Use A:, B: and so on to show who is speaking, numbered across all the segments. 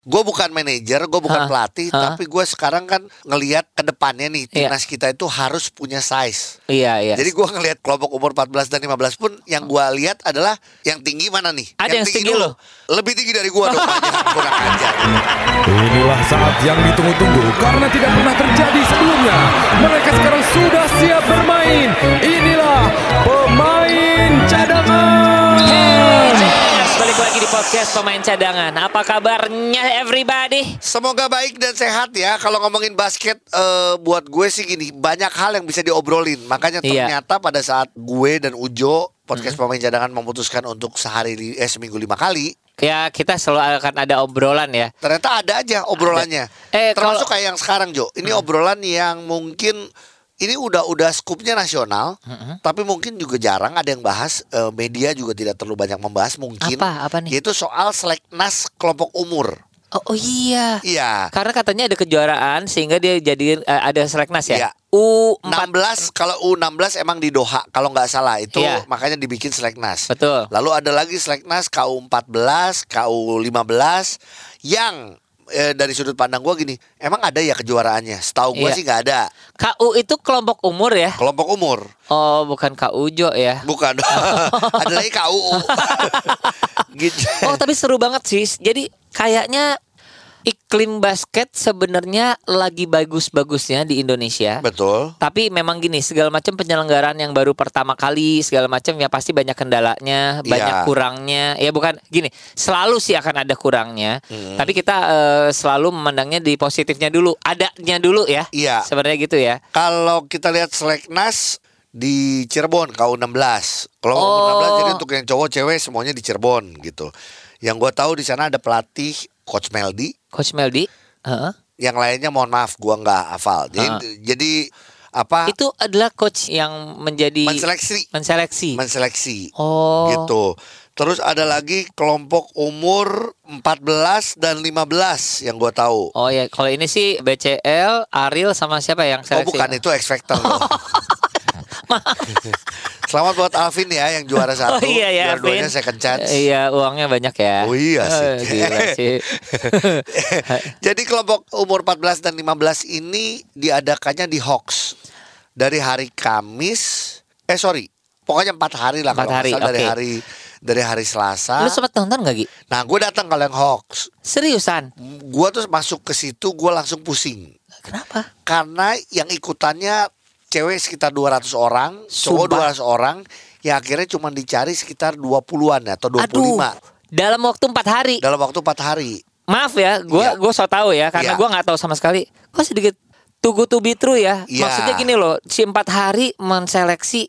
A: Gue bukan manajer, gue bukan
B: Hah?
A: pelatih,
B: Hah?
A: tapi gue sekarang kan ngelihat ke depannya nih
B: Iya.
A: timnas kita itu harus punya size.
B: Iya iya.
A: Jadi gue ngelihat kelompok umur 14 dan 15 pun yang gue lihat adalah yang tinggi mana nih?
B: Ada yang setinggi
A: dulu. Lebih tinggi dari gue dong, banyak kurang ajar.
C: Inilah saat yang ditunggu-tunggu karena tidak pernah terjadi sebelumnya. Mereka sekarang sudah siap bermain. Inilah pemain cadangan.
B: Hey, Jazz, balik lagi di podcast pemain cadangan. Apa kabarnya everybody?
A: Semoga baik dan sehat ya. Kalau ngomongin basket, eh, buat gue sih gini banyak hal yang bisa diobrolin. Makanya
B: Iya. Mm-hmm.
A: ternyata pada saat gue dan Ujo podcast pemain cadangan memutuskan untuk sehari li- eh seminggu lima kali,
B: Ya kita selalu akan ada obrolan ya.
A: ternyata ada aja obrolannya.
B: Ada. Eh,
A: Termasuk
B: kalau- Hmm.
A: kayak yang sekarang Jo. Ini obrolan yang mungkin ini udah-udah skupnya nasional,
B: Hmm.
A: tapi mungkin juga jarang ada yang bahas. eh, media juga tidak terlalu banyak membahas mungkin.
B: Apa? Apa nih?
A: Yaitu soal seleknas kelompok umur.
B: Oh, oh iya.
A: Iya.
B: Karena katanya ada kejuaraan sehingga dia jadi eh, ada seleknas ya.
A: Iya.
B: U 4
A: 16 kalau U16 emang di Doha kalau nggak salah itu
B: Iya.
A: makanya dibikin seleknas.
B: Betul.
A: Lalu ada lagi seleknas KU14, KU15 yang eh, dari sudut pandang gua gini, emang ada ya kejuaraannya? Setahu gua
B: Iya.
A: sih nggak ada.
B: KU itu kelompok umur ya.
A: Kelompok umur.
B: Oh, bukan Kak Ujo ya.
A: Bukan. ada lagi KUU. gitu.
B: Oh, tapi seru banget sih. Jadi kayaknya iklim basket sebenarnya lagi bagus-bagusnya di Indonesia.
A: Betul.
B: Tapi memang gini, segala macam penyelenggaraan yang baru pertama kali, segala macam ya pasti banyak kendalanya, banyak
A: Iya.
B: kurangnya. Ya bukan gini, selalu sih akan ada kurangnya. Tapi kita eh, selalu memandangnya di positifnya dulu, adanya dulu ya.
A: Iya.
B: Sebenarnya gitu ya.
A: Kalau kita lihat seleknas di Cirebon KU16. Kalau
B: Oh.
A: umur 16 jadi untuk yang cowok cewek semuanya di Cirebon gitu. Yang gua tahu di sana ada pelatih Coach Meldi,
B: Coach Meldi, heeh.
A: yang lainnya mohon maaf gua nggak hafal. Jadi, jadi apa
B: Ah. itu adalah coach yang menjadi
A: menseleksi
B: menseleksi.
A: menseleksi
B: oh.
A: gitu. Terus ada lagi kelompok umur 14 dan 15 yang gua tahu.
B: Oh ya, kalau ini sih BCL, Ariel sama siapa
A: Oh
B: yang seleksi?
A: bukan itu X Factor loh.
B: Oh.
A: Selamat buat Alvin ya yang juara
B: Oh
A: satu.
B: iya ya,
A: juara duanya
B: Vin.
A: second chance.
B: Iya, uangnya banyak ya.
A: Oh iya sih.
B: Eh, gila sih.
A: Jadi kelompok umur 14 dan 15 ini diadakannya di Hoax dari hari Kamis. Eh sorry, pokoknya empat hari lah
B: Empat
A: kalau nggak
B: hari,
A: salah dari
B: oke.
A: hari dari hari Selasa.
B: Lu sempat nonton gak Gi?
A: Nah, gue datang kalau yang Hoax.
B: Seriusan?
A: Gue tuh masuk ke situ, gue langsung pusing
B: Kenapa?
A: karena yang ikutannya cewek sekitar 200 orang,
B: Sumpah.
A: cowok 200 orang, ya akhirnya cuma dicari sekitar 20-an ya, atau 25
B: Aduh. Dalam waktu empat hari.
A: dalam waktu empat hari.
B: Maaf ya,
A: Iya.
B: gua gua so tau ya karena
A: Iya.
B: gua nggak tahu sama sekali. Kok sedikit tugu to be true ya.
A: Iya.
B: Maksudnya gini loh, si empat hari menseleksi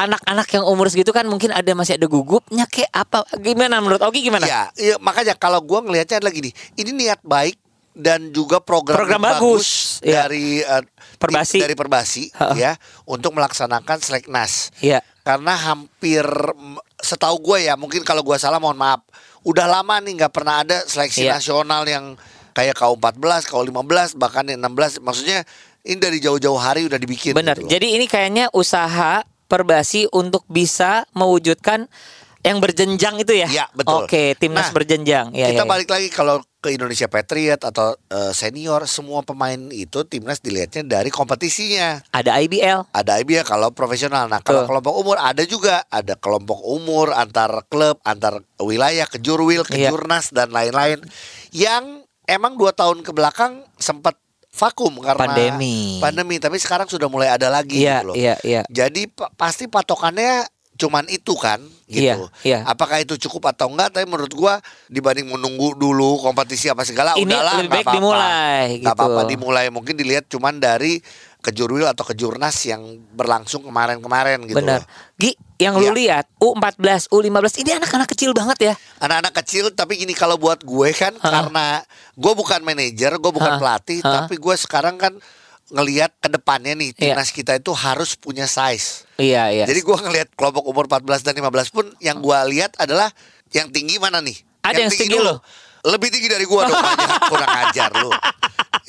B: anak-anak yang umur segitu kan mungkin ada masih ada gugupnya kayak apa gimana menurut Ogi gimana?
A: Iya, iya, makanya kalau gua ngelihatnya adalah gini, ini niat baik dan juga program,
B: Program
A: yang
B: bagus, iya.
A: dari eh,
B: Perbasi.
A: dari Perbasi
B: Ha-ha.
A: ya untuk melaksanakan seleknas.
B: Iya.
A: Karena hampir mm, setahu gue ya, mungkin kalau gua salah mohon maaf. Udah lama nih nggak pernah ada seleksi
B: Iya.
A: nasional yang kayak KU14, KU15, bahkan yang 16. Maksudnya ini dari jauh-jauh hari udah dibikin.
B: Benar.
A: gitu loh.
B: Jadi ini kayaknya usaha Perbasi untuk bisa mewujudkan yang berjenjang itu ya.
A: Iya, betul.
B: Oke, timnas
A: Nah,
B: berjenjang. Iya,
A: kita
B: iya, iya.
A: balik lagi kalau ke Indonesia Patriot atau eh, senior semua pemain itu timnas dilihatnya dari kompetisinya
B: Ada IBL.
A: ada IBL kalau profesional nah kalau
B: Betul.
A: kelompok umur ada juga ada kelompok umur antar klub antar wilayah kejurwil
B: Iya.
A: kejurnas dan lain-lain yang emang dua tahun ke belakang sempat vakum karena
B: Pandemi.
A: pandemi tapi sekarang sudah mulai ada lagi
B: Iya,
A: gitu loh.
B: iya, iya.
A: Jadi pa- pasti patokannya cuman itu kan gitu.
B: Iya, iya.
A: Apakah itu cukup atau enggak? Tapi menurut gua dibanding menunggu dulu kompetisi apa segala,
B: Ini
A: udahlah
B: lebih
A: nggak
B: baik
A: apa-apa.
B: dimulai,
A: Nggak
B: gitu.
A: apa-apa dimulai. Mungkin dilihat cuman dari kejurwil atau kejurnas yang berlangsung kemarin-kemarin gitu.
B: Benar.
A: loh.
B: Gi, yang lu
A: Iya.
B: lihat U14, U15 ini anak-anak kecil banget ya.
A: Anak-anak kecil tapi gini kalau buat gue kan karena gue bukan manajer, gue bukan
B: Ha.
A: pelatih,
B: Ha.
A: tapi gue sekarang kan ngelihat ke depannya nih
B: Iya.
A: timnas kita itu harus punya size.
B: Iya, iya.
A: Jadi gua ngelihat kelompok umur 14 dan 15 pun yang gua lihat adalah yang tinggi mana nih?
B: Ada yang setinggi
A: dulu.
B: lo?
A: Lebih tinggi dari gua dong banyak kurang ajar lu.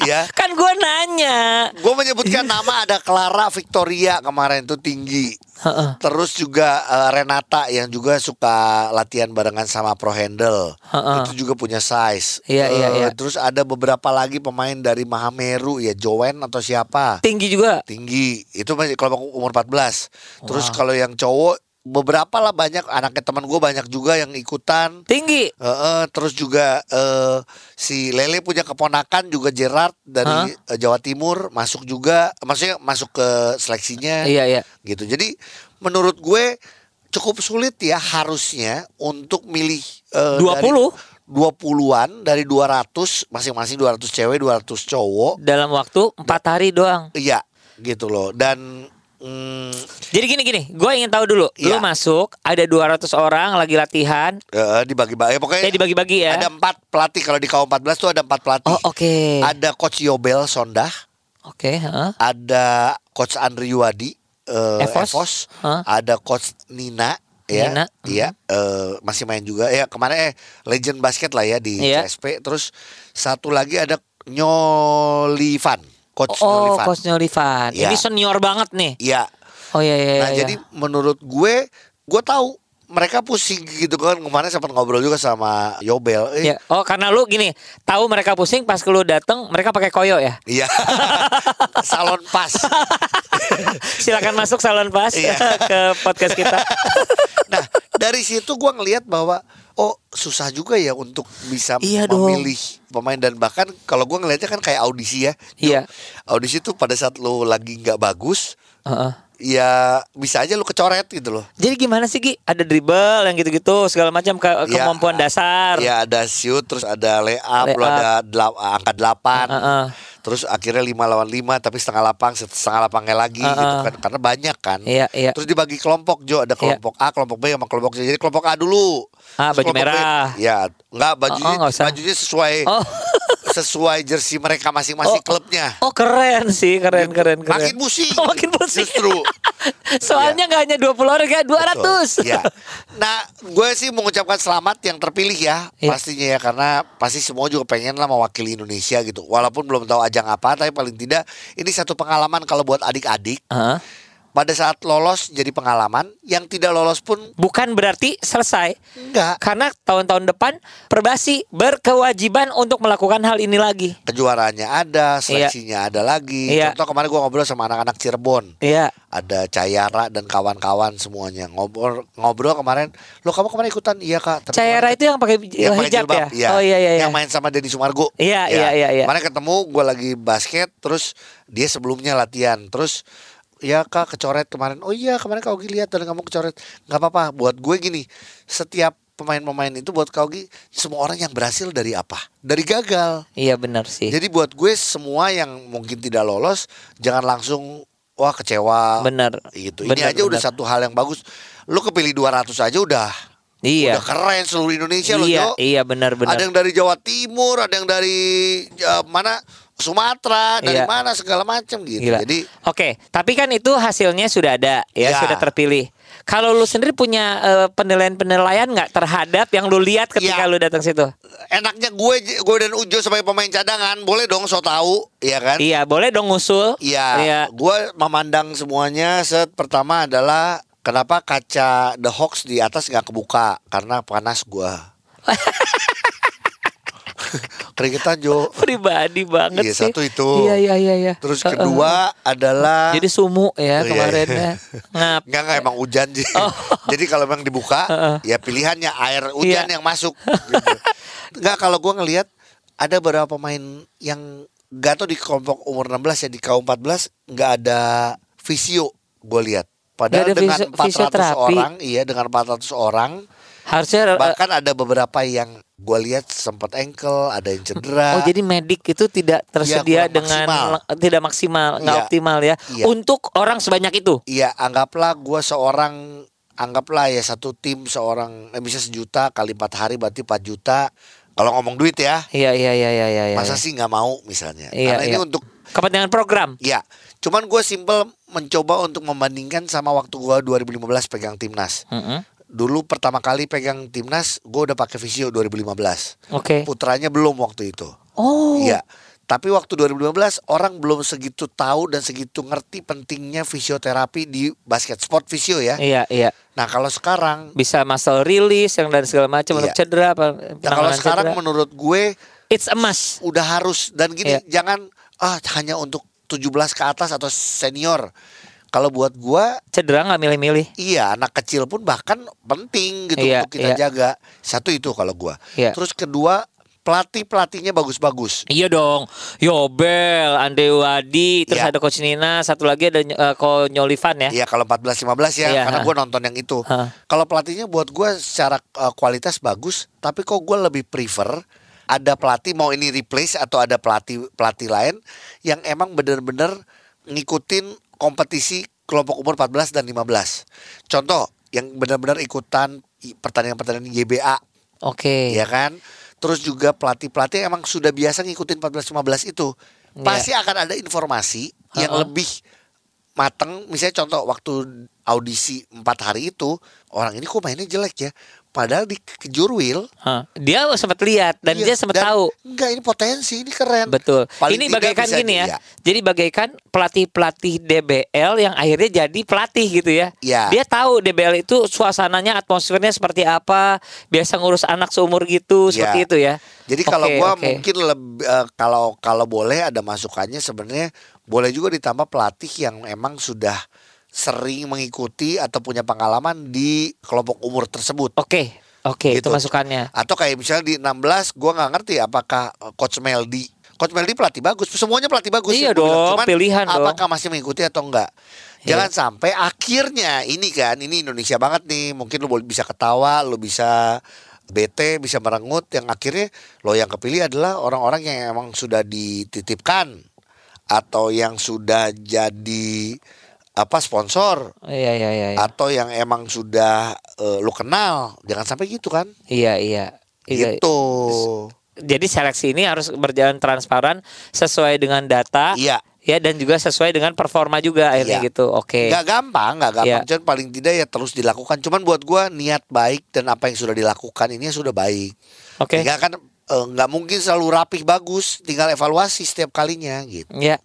A: ya.
B: Kan gue nanya.
A: Gue menyebutkan
B: Iya.
A: nama ada Clara Victoria kemarin itu tinggi.
B: Heeh.
A: Terus juga eh, Renata yang juga suka latihan barengan sama Pro Handle.
B: Heeh.
A: Itu juga punya size.
B: Iya,
A: Eh,
B: iya, iya.
A: Terus ada beberapa lagi pemain dari Mahameru ya Joen atau siapa.
B: Tinggi juga.
A: Tinggi. Itu masih kelompok umur 14. Terus kalau yang cowok beberapa lah banyak anaknya teman gue banyak juga yang ikutan.
B: Tinggi.
A: Heeh, terus juga eh, si Lele punya keponakan juga Gerard dari eh, Jawa Timur masuk juga, maksudnya masuk ke seleksinya
B: Iya, iya.
A: gitu. Jadi menurut gue cukup sulit ya harusnya untuk milih eh,
B: 20?
A: dari 20-an dari 200 masing-masing 200 cewek, 200 cowok.
B: Dalam waktu empat hari doang.
A: Iya, gitu loh. Dan mm,
B: Jadi gini-gini, gue ingin tahu dulu.
A: Iya.
B: Lu masuk, ada 200 orang lagi latihan.
A: eh, dibagi-bagi ya, pokoknya
B: Eh, dibagi-bagi ya.
A: ada empat pelatih kalau di KU14 tuh ada empat pelatih.
B: Oh, oke.
A: Ada coach Yobel Sondah,
B: Oke, heeh.
A: ada coach Andri Yuwadi eh,
B: Evos.
A: Evos,
B: Hah?
A: ada coach Nina ya,
B: Nina, hmm.
A: iya eh, masih main juga ya kemarin eh legend basket lah ya di
B: Iya.
A: CSP terus satu lagi ada Nyolivan coach
B: Oh,
A: Nyolivan
B: Coach Nyolivan.
A: Iya.
B: Ini senior banget nih.
A: iya
B: Oh iya iya.
A: nah
B: iya.
A: jadi menurut gue gue tahu mereka pusing gitu kan kemarin sempat ngobrol juga sama Yobel eh,
B: Ya. Oh karena lu gini tahu mereka pusing pas lu dateng mereka pakai koyo ya.
A: iya salon pas
B: Silakan masuk salon pas
A: Iya.
B: ke podcast kita.
A: Nah dari situ gua ngelihat bahwa oh susah juga ya untuk bisa
B: Iya dong.
A: memilih pemain dan bahkan kalau gua ngelihatnya kan kayak audisi ya. Ju.
B: Iya.
A: Audisi tuh pada saat lo lagi nggak bagus,
B: Heeh.
A: ya bisa aja lo kecoret gitu loh.
B: Jadi gimana sih Ki? Ada dribble yang gitu-gitu segala macam ke-
A: Ya,
B: kemampuan dasar.
A: Ya ada shoot, terus ada layup, lo
B: Layup.
A: ada delap- angka delapan.
B: Heeh.
A: Terus akhirnya lima lawan lima tapi setengah lapang setengah lapangnya lagi gitu
B: Heeh.
A: kan karena banyak kan.
B: Ah, Iya, iya.
A: Terus dibagi kelompok Jo ada kelompok A, kelompok B sama kelompok C. Jadi kelompok A dulu.
B: Ah,
A: Terus
B: baju
A: kelompok B-
B: merah. Oh,
A: Iya, enggak bajunya
B: nggak usah.
A: bajunya sesuai
B: Oh.
A: sesuai jersey mereka masing-masing
B: Oh.
A: klubnya.
B: Oh keren sih, keren keren keren.
A: Makin pusing.
B: Oh, makin pusing.
A: Justru. Iya.
B: Soalnya nggak hanya 20 orang kayak 200.
A: Betul. Ya. Nah, gue sih mengucapkan selamat yang terpilih ya,
B: Iya.
A: pastinya ya karena pasti semua juga pengen lah mewakili Indonesia gitu. Walaupun belum tahu ajang apa, tapi paling tidak ini satu pengalaman kalau buat adik-adik.
B: Heeh.
A: Pada saat lolos jadi pengalaman, yang tidak lolos pun
B: Bukan berarti selesai.
A: enggak
B: Karena tahun-tahun depan Perbasi berkewajiban untuk melakukan hal ini lagi.
A: kejuaraannya ada, seleksinya ada lagi.
B: Iya.
A: Contoh kemarin gue ngobrol sama anak-anak Cirebon.
B: Iya.
A: ada Cayara dan kawan-kawan semuanya ngobrol ngobrol kemarin lo kamu kemarin ikutan iya kak Tapi kemarin-
B: Cayara itu yang pakai
A: Yang pakai
B: hijab ya?
A: jilbab, iya.
B: Oh iya iya iya.
A: Yang main sama Denny Sumargo.
B: Iya,
A: Ya.
B: iya, iya, iya.
A: Kemarin ketemu gue lagi basket, terus dia sebelumnya latihan, terus ya kak kecoret kemarin. Oh iya kemarin kau lihat dan kamu kecoret. Gak apa-apa. Buat gue gini, setiap pemain-pemain itu buat kau semua orang yang berhasil dari apa? Dari gagal.
B: Iya benar sih.
A: Jadi buat gue semua yang mungkin tidak lolos, jangan langsung wah kecewa.
B: Benar.
A: Gitu. Ini
B: Benar,
A: aja udah
B: benar.
A: satu hal yang bagus. Lu kepilih 200 aja udah.
B: iya.
A: Udah keren seluruh Indonesia loh,
B: iya,
A: Jo.
B: iya benar benar.
A: Ada yang dari Jawa Timur, ada yang dari eh, mana Sumatera, dari
B: Iya.
A: mana segala macam gitu.
B: Gila.
A: Jadi
B: Oke, tapi kan itu hasilnya sudah ada ya,
A: Ya.
B: sudah terpilih. Kalau lu sendiri punya eh, penilaian-penilaian nggak terhadap yang lu lihat ketika
A: Iya.
B: lu datang situ?
A: enaknya gue gue dan Ujo sebagai pemain cadangan boleh dong so tahu, ya kan?
B: Iya, boleh dong ngusul.
A: Iya.
B: Iya.
A: Gue memandang semuanya set pertama adalah kenapa kaca The Hawks di atas nggak kebuka karena panas gue. Keringetan Jo.
B: Pribadi banget
A: Iya,
B: sih.
A: satu itu.
B: Iya iya iya iya.
A: Terus
B: Eh, eh,
A: kedua adalah
B: Jadi sumu ya
A: Oh, iya,
B: kemarin
A: iya.
B: ya. Ngap.
A: Enggak enggak emang hujan sih.
B: Oh.
A: Jadi kalau memang dibuka ya pilihannya air hujan
B: Iya.
A: yang masuk gitu. Enggak kalau gua ngelihat ada beberapa pemain yang enggak tahu di kelompok umur 16 ya di K14 enggak ada visio gua lihat. Padahal
B: Nggak ada
A: dengan
B: visio-
A: 400
B: fisioterapi.
A: orang, iya dengan 400 orang
B: Harusnya eh,
A: bahkan ada beberapa yang gua lihat sempat ankle, ada yang cedera.
B: Oh jadi medik itu tidak tersedia
A: Iya, kurang
B: dengan
A: maksimal.
B: tidak maksimal, nggak
A: Iya.
B: optimal ya.
A: Iya.
B: Untuk orang sebanyak itu.
A: Iya anggaplah gue seorang anggaplah ya satu tim seorang eh, bisa sejuta kali empat hari berarti 4 juta kalau ngomong duit ya
B: Iya iya iya iya iya. iya.
A: masa sih nggak mau misalnya
B: Iya,
A: karena
B: iya.
A: ini untuk
B: kepentingan program?
A: ya cuman gue simple mencoba untuk membandingkan sama waktu gue 2015 pegang timnas
B: Mm-mm.
A: dulu pertama kali pegang timnas gue udah pakai visio 2015
B: Oke.
A: putranya belum waktu itu
B: Oh.
A: Iya. Tapi waktu 2015 orang belum segitu tahu dan segitu ngerti pentingnya fisioterapi di basket sport fisio ya.
B: Iya, iya.
A: Nah, kalau sekarang
B: Bisa muscle release yang dan segala macam
A: Iya.
B: untuk cedera
A: ya
B: apa
A: kalau
B: penanganan
A: sekarang
B: cedera.
A: menurut gue
B: it's a must.
A: udah harus dan gini
B: Iya.
A: jangan ah hanya untuk 17 ke atas atau senior. Kalau buat gua
B: Cedera nggak milih-milih.
A: Iya, anak kecil pun bahkan penting gitu
B: Iya,
A: untuk kita
B: iya.
A: jaga. Satu itu kalau gua.
B: Iya.
A: Terus kedua, pelatih-pelatihnya bagus-bagus.
B: Iya dong, Yobel, Andre Wadi, terus
A: Iya.
B: ada Coach Nina, satu lagi ada eh, Ko Nyolivan
A: Iya,
B: ya.
A: kalau 14 15 ya,
B: Iya,
A: karena
B: ha.
A: gua nonton yang itu.
B: Ha.
A: Kalau pelatihnya buat gua secara eh, kualitas bagus, tapi kok gua lebih prefer ada pelatih mau ini replace atau ada pelatih pelatih lain yang emang bener-bener ngikutin kompetisi kelompok umur 14 dan 15. Contoh yang benar-benar ikutan i- pertandingan-pertandingan YBA
B: Oke.
A: ya kan? Terus juga pelatih-pelatih emang sudah biasa ngikutin 14-15 itu.
B: Iya.
A: Pasti akan ada informasi yang
B: Ha-ha.
A: lebih mateng. Misalnya contoh waktu audisi empat hari itu, orang ini kok mainnya jelek ya. Padahal di kejurwil
B: Hah, Dia sempat lihat Iya, dan dia sempat tahu.
A: Enggak, ini potensi, ini keren.
B: Betul.
A: Paling
B: ini
A: tidak
B: bagaikan
A: bisa
B: gini ya.
A: dia.
B: Jadi bagaikan pelatih-pelatih DBL yang akhirnya jadi pelatih gitu ya.
A: Iya.
B: Dia tahu DBL itu suasananya, atmosfernya seperti apa, biasa ngurus anak seumur gitu,
A: Iya.
B: seperti itu ya.
A: Jadi kalau
B: Oke,
A: gua
B: oke.
A: mungkin lebih eh, kalau kalau boleh ada masukannya sebenarnya boleh juga ditambah pelatih yang emang sudah sering mengikuti atau punya pengalaman di kelompok umur tersebut.
B: Oke, oke, itu
A: Gitu.
B: masukannya.
A: Atau kayak misalnya di 16 gua nggak ngerti apakah eh, coach Meldi Coach Meldi pelatih bagus, semuanya pelatih bagus.
B: Iya
A: yang gua bilang.
B: dong, pilihan dong. Iya.
A: apakah masih mengikuti atau enggak? Jangan sampai akhirnya ini kan, ini Indonesia banget nih. Mungkin lu boleh- bisa ketawa, lu bisa bete, bisa merengut. Yang akhirnya lo yang kepilih adalah orang-orang yang emang sudah dititipkan atau yang sudah jadi apa sponsor
B: Iya, iya, iya. Iya,
A: atau yang emang sudah eh, lu kenal. Jangan sampai gitu kan?
B: iya. iya. Iya.
A: Gitu.
B: Jadi seleksi ini harus berjalan transparan sesuai dengan data.
A: Iya.
B: Ya dan juga sesuai dengan performa juga akhirnya
A: Iya.
B: gitu. Oke.
A: Gak gampang, gak gampang.
B: Iya.
A: Cuman paling tidak ya terus dilakukan. Cuman buat gua niat baik dan apa yang sudah dilakukan ini sudah baik.
B: Oke.
A: Tinggal kan eh, nggak mungkin selalu rapih bagus. Tinggal evaluasi setiap kalinya gitu.
B: Ya.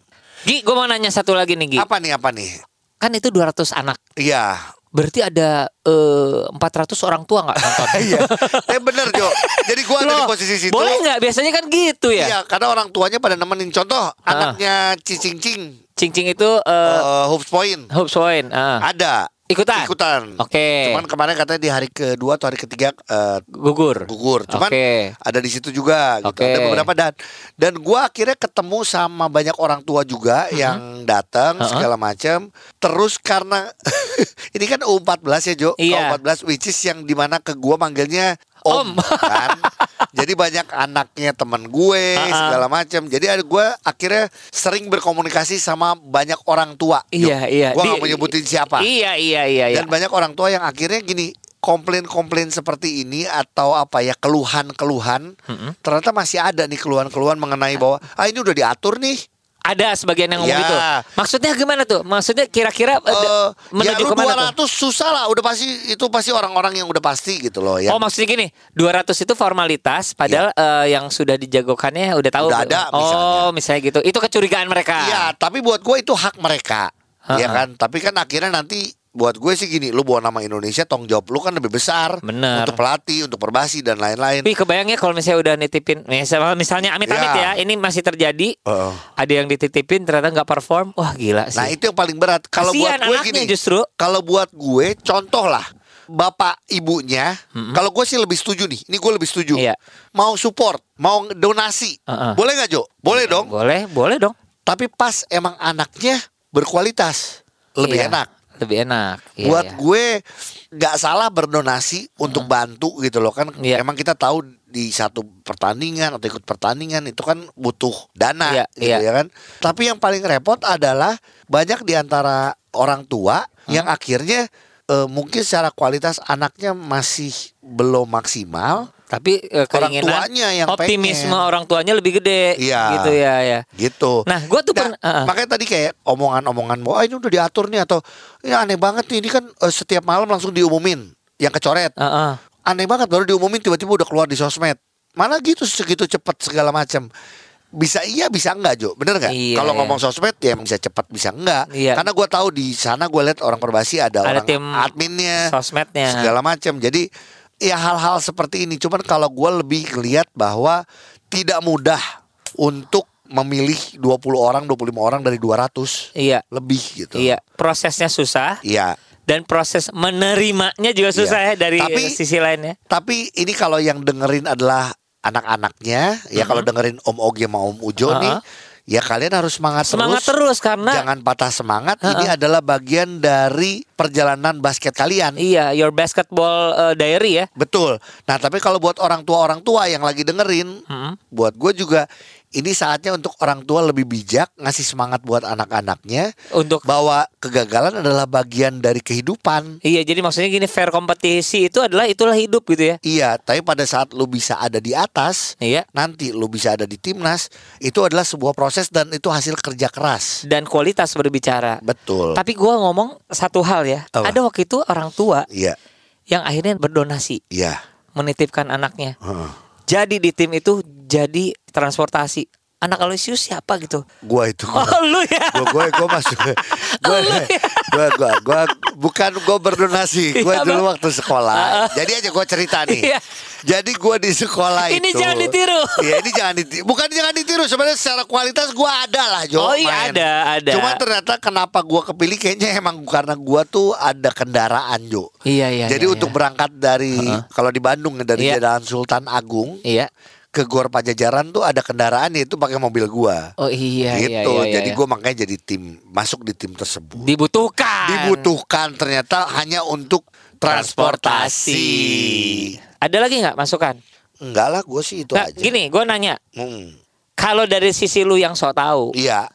B: Gi, gue mau nanya satu lagi nih Gi.
A: Apa nih apa nih?
B: Kan itu 200 anak.
A: Iya.
B: Berarti ada eh, 400 orang tua nggak nonton?
A: Iya. eh bener Jo. Jadi gua ada di
B: Loh,
A: posisi situ.
B: Boleh nggak? Biasanya kan gitu ya.
A: Iya, karena orang tuanya pada nemenin contoh anaknya Cicing Cing,
B: Cincing itu eh
A: eh, Hopes Point
B: Hope Soin. ah.
A: ada
B: Ikutan?
A: Ikutan.
B: Oke.
A: Cuman kemarin katanya di hari kedua atau hari ketiga eh,
B: Gugur.
A: gugur. Cuman
B: Oke.
A: ada di situ juga gitu.
B: Oke.
A: Ada beberapa dan dan gua akhirnya ketemu sama banyak orang tua juga
B: Mm-hmm.
A: yang datang
B: Uh-huh.
A: segala macam. Terus karena ini kan U14 ya Jo,
B: Iya.
A: U14 which is yang dimana ke gua manggilnya Om,
B: Om.
A: kan. Jadi banyak anaknya teman gue
B: Uh-uh.
A: segala macam. Jadi ada gue akhirnya sering berkomunikasi sama banyak orang tua. Jo.
B: Iya, iya.
A: Gua
B: Di-
A: nggak mau nyebutin siapa.
B: Iya, iya, iya, iya.
A: Dan banyak orang tua yang akhirnya gini komplain-komplain seperti ini atau apa ya keluhan-keluhan ternyata masih ada nih keluhan-keluhan
B: Iya.
A: mengenai bahwa ah ini udah diatur nih
B: Ada sebagian yang
A: Ya.
B: ngomong gitu. Maksudnya gimana tuh? Maksudnya kira-kira eh,
A: Eh, ya
B: menuju
A: lu
B: kemana tuh?
A: 200 susah lah udah pasti itu pasti orang-orang yang udah pasti gitu loh ya
B: Oh maksudnya gini 200 itu formalitas Padahal eh, yang sudah dijagokannya udah tahu
A: Iya. Udah ada,
B: Oh
A: misalnya.
B: misalnya gitu Itu kecurigaan mereka
A: Iya, tapi buat gue itu hak mereka.
B: Ha-ha.
A: Ya kan? Tapi kan akhirnya nanti buat gue sih gini, lu bawa nama Indonesia, tanggung jawab lu kan lebih besar
B: Bener.
A: untuk pelatih, untuk perbasi dan lain-lain.
B: Tapi kebayangnya kalau misalnya udah nitipin Misalnya, misalnya amit-amit
A: Iya.
B: ya Ini masih terjadi
A: Heeh.
B: Ada yang dititipin ternyata nggak perform Wah gila sih
A: Nah itu yang paling berat. Kalau buat
B: Kasihan
A: gue
B: anaknya
A: gini,
B: justru.
A: kalau buat gue contoh lah bapak ibunya, kalau gue sih lebih setuju nih. Ini gue lebih setuju.
B: Iya.
A: Mau support, mau donasi,
B: Heeh. Iya,
A: boleh nggak Jo? Boleh dong.
B: Boleh, boleh dong
A: Tapi pas emang anaknya berkualitas, lebih
B: Iya,
A: enak.
B: Lebih enak Iya,
A: buat
B: iya. Hmm.
A: gue nggak salah berdonasi untuk bantu gitu loh kan
B: Iya.
A: emang kita tahu di satu pertandingan atau ikut pertandingan itu kan butuh dana
B: Iya,
A: gitu
B: iya.
A: ya kan tapi yang paling repot adalah banyak di antara orang tua
B: Hmm.
A: yang akhirnya eh, mungkin secara kualitas anaknya masih belum maksimal
B: Tapi eh, keinginan
A: tuanya yang
B: Optimisme
A: pengen.
B: orang tuanya lebih gede
A: Iya.
B: Gitu ya, ya.
A: gitu
B: Nah gue tuh
A: Nah,
B: pernah Heeh.
A: makanya tadi kayak omongan-omongan mau ah, ini udah diatur nih atau ini aneh banget nih ini kan eh, setiap malam langsung diumumin yang kecoret
B: Heeh.
A: aneh banget baru diumumin tiba-tiba udah keluar di sosmed malah gitu segitu cepat segala macam bisa iya bisa enggak Jo bener nggak
B: Iya,
A: kalau
B: iya.
A: ngomong sosmed ya bisa cepat bisa enggak
B: Iya.
A: karena gua tahu di sana gua lihat orang perbasi ada,
B: Ada
A: orang
B: tim
A: adminnya
B: sosmednya.
A: Eh, segala macam jadi ya hal-hal seperti ini cuman kalau gua lebih ngelihat bahwa tidak mudah untuk memilih 20 orang 25 orang dari 200
B: Iya.
A: lebih gitu
B: Iya, prosesnya susah
A: Iya.
B: dan proses menerimanya juga susah
A: Iya.
B: ya dari
A: Tapi-
B: sisi lainnya.
A: Tapi ini kalau yang dengerin adalah anak-anaknya, ya kalau dengerin Om Oge sama Om Ujo
B: Uh-uh.
A: nih, ya kalian harus semangat,
B: Semangat terus karena
A: Jangan patah semangat. Ini adalah bagian dari perjalanan basket kalian.
B: iya your basketball eh, diary ya.
A: Betul. Nah, tapi kalau buat orang tua orang tua yang lagi dengerin,
B: Mm.
A: buat gue juga ini saatnya untuk orang tua lebih bijak ngasih semangat buat anak-anaknya
B: Untuk
A: bahwa kegagalan adalah bagian dari kehidupan.
B: iya jadi maksudnya gini fair kompetisi itu adalah itulah hidup gitu ya.
A: Iya, tapi pada saat lu bisa ada di atas,
B: Iya.
A: nanti lu bisa ada di timnas, itu adalah sebuah proses dan itu hasil kerja keras.
B: Dan kualitas berbicara.
A: Betul.
B: Tapi gua ngomong satu hal ya.
A: Apa?
B: Ada waktu itu orang tua
A: Iya,
B: yang akhirnya berdonasi,
A: iya.
B: menitipkan anaknya.
A: Heeh.
B: Jadi di tim itu jadi transportasi. Anak Aloysius siapa gitu?
A: Gua itu.
B: Oh lu ya.
A: Gua gue gue masuk. Gue
B: Lu ya.
A: gue gue gue bukan gue berdonasi. Gue
B: Iya,
A: dulu
B: Bang.
A: waktu sekolah. Jadi aja gue cerita nih.
B: Iya.
A: Jadi gue di sekolah
B: Ini
A: itu.
B: jangan ditiru.
A: Iya ini jangan ditiru. Bukan jangan ditiru sebenarnya secara kualitas gue ada lah Jo.
B: Oh, iya, ada, ada.
A: Cuma ternyata kenapa gue kepilih kayaknya emang karena gue tuh ada kendaraan Jo.
B: Iya iya.
A: Jadi untuk berangkat dari kalau di Bandung dari
B: Iya.
A: Jalan Sultan Agung
B: Iya.
A: ke Gor Pajajaran tuh ada kendaraan yaitu pakai mobil gua.
B: Oh iya
A: gitu.
B: iya, iya, iya,
A: jadi
B: iya.
A: gua makanya jadi tim masuk di tim tersebut.
B: dibutuhkan.
A: Dibutuhkan ternyata hanya untuk transportasi.
B: Ada lagi nggak masukan?
A: Enggak lah, gua sih itu
B: Nah,
A: aja.
B: gini, gue nanya.
A: Hmm,
B: Kalau dari sisi lu yang sok tahu,
A: Iya,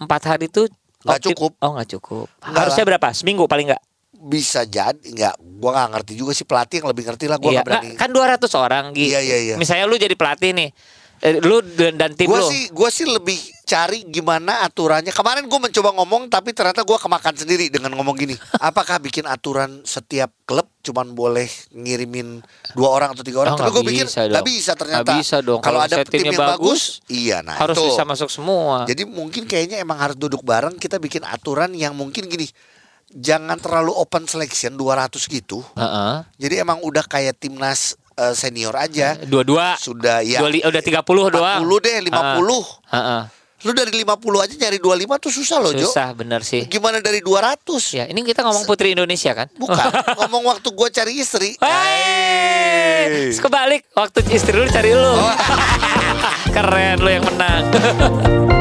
B: empat hari itu
A: Nggak
B: optim-
A: cukup.
B: Oh nggak cukup.
A: Nggak
B: Harusnya berapa? Seminggu paling nggak?
A: bisa jadi enggak gua nggak ngerti juga sih pelatih yang lebih ngerti lah gua
B: Iya.
A: nggak berani.
B: Nggak, Kan 200 orang gitu.
A: Iya, iya, iya.
B: Misalnya lu jadi pelatih nih, Eh, lu dan, dan tim
A: Gue
B: lu.
A: sih gua sih lebih cari gimana aturannya. Kemarin gue mencoba ngomong tapi ternyata gua kemakan sendiri dengan ngomong gini. Apakah bikin aturan setiap klub cuman boleh ngirimin dua orang atau tiga orang?
B: Oh,
A: tapi
B: nggak
A: gue pikir
B: bisa dong.
A: nggak bisa ternyata.
B: Nggak bisa dong.
A: Kalau
B: Kalau
A: ada
B: misalnya
A: tim
B: timnya
A: yang bagus,
B: bagus,
A: iya nah
B: harus
A: itu.
B: bisa masuk semua.
A: Jadi mungkin kayaknya emang harus duduk bareng kita bikin aturan yang mungkin gini. Jangan terlalu open selection 200 gitu.
B: Heeh.
A: Jadi emang udah kayak timnas eh, senior aja.
B: Dua-dua.
A: Sudah ya.
B: Dua li- udah 30 doang. Ah.
A: 40 deh, 50.
B: Heeh.
A: Lu dari 50 aja nyari 25 tuh susah loh, Jo.
B: Susah bener sih.
A: Gimana dari 200?
B: Ya, ini kita ngomong putri Indonesia kan?
A: Bukan, ngomong waktu gua cari istri.
B: Hei,
A: Hey. Oh.
B: kebalik waktu istri lu cari lu. Keren lu yang menang.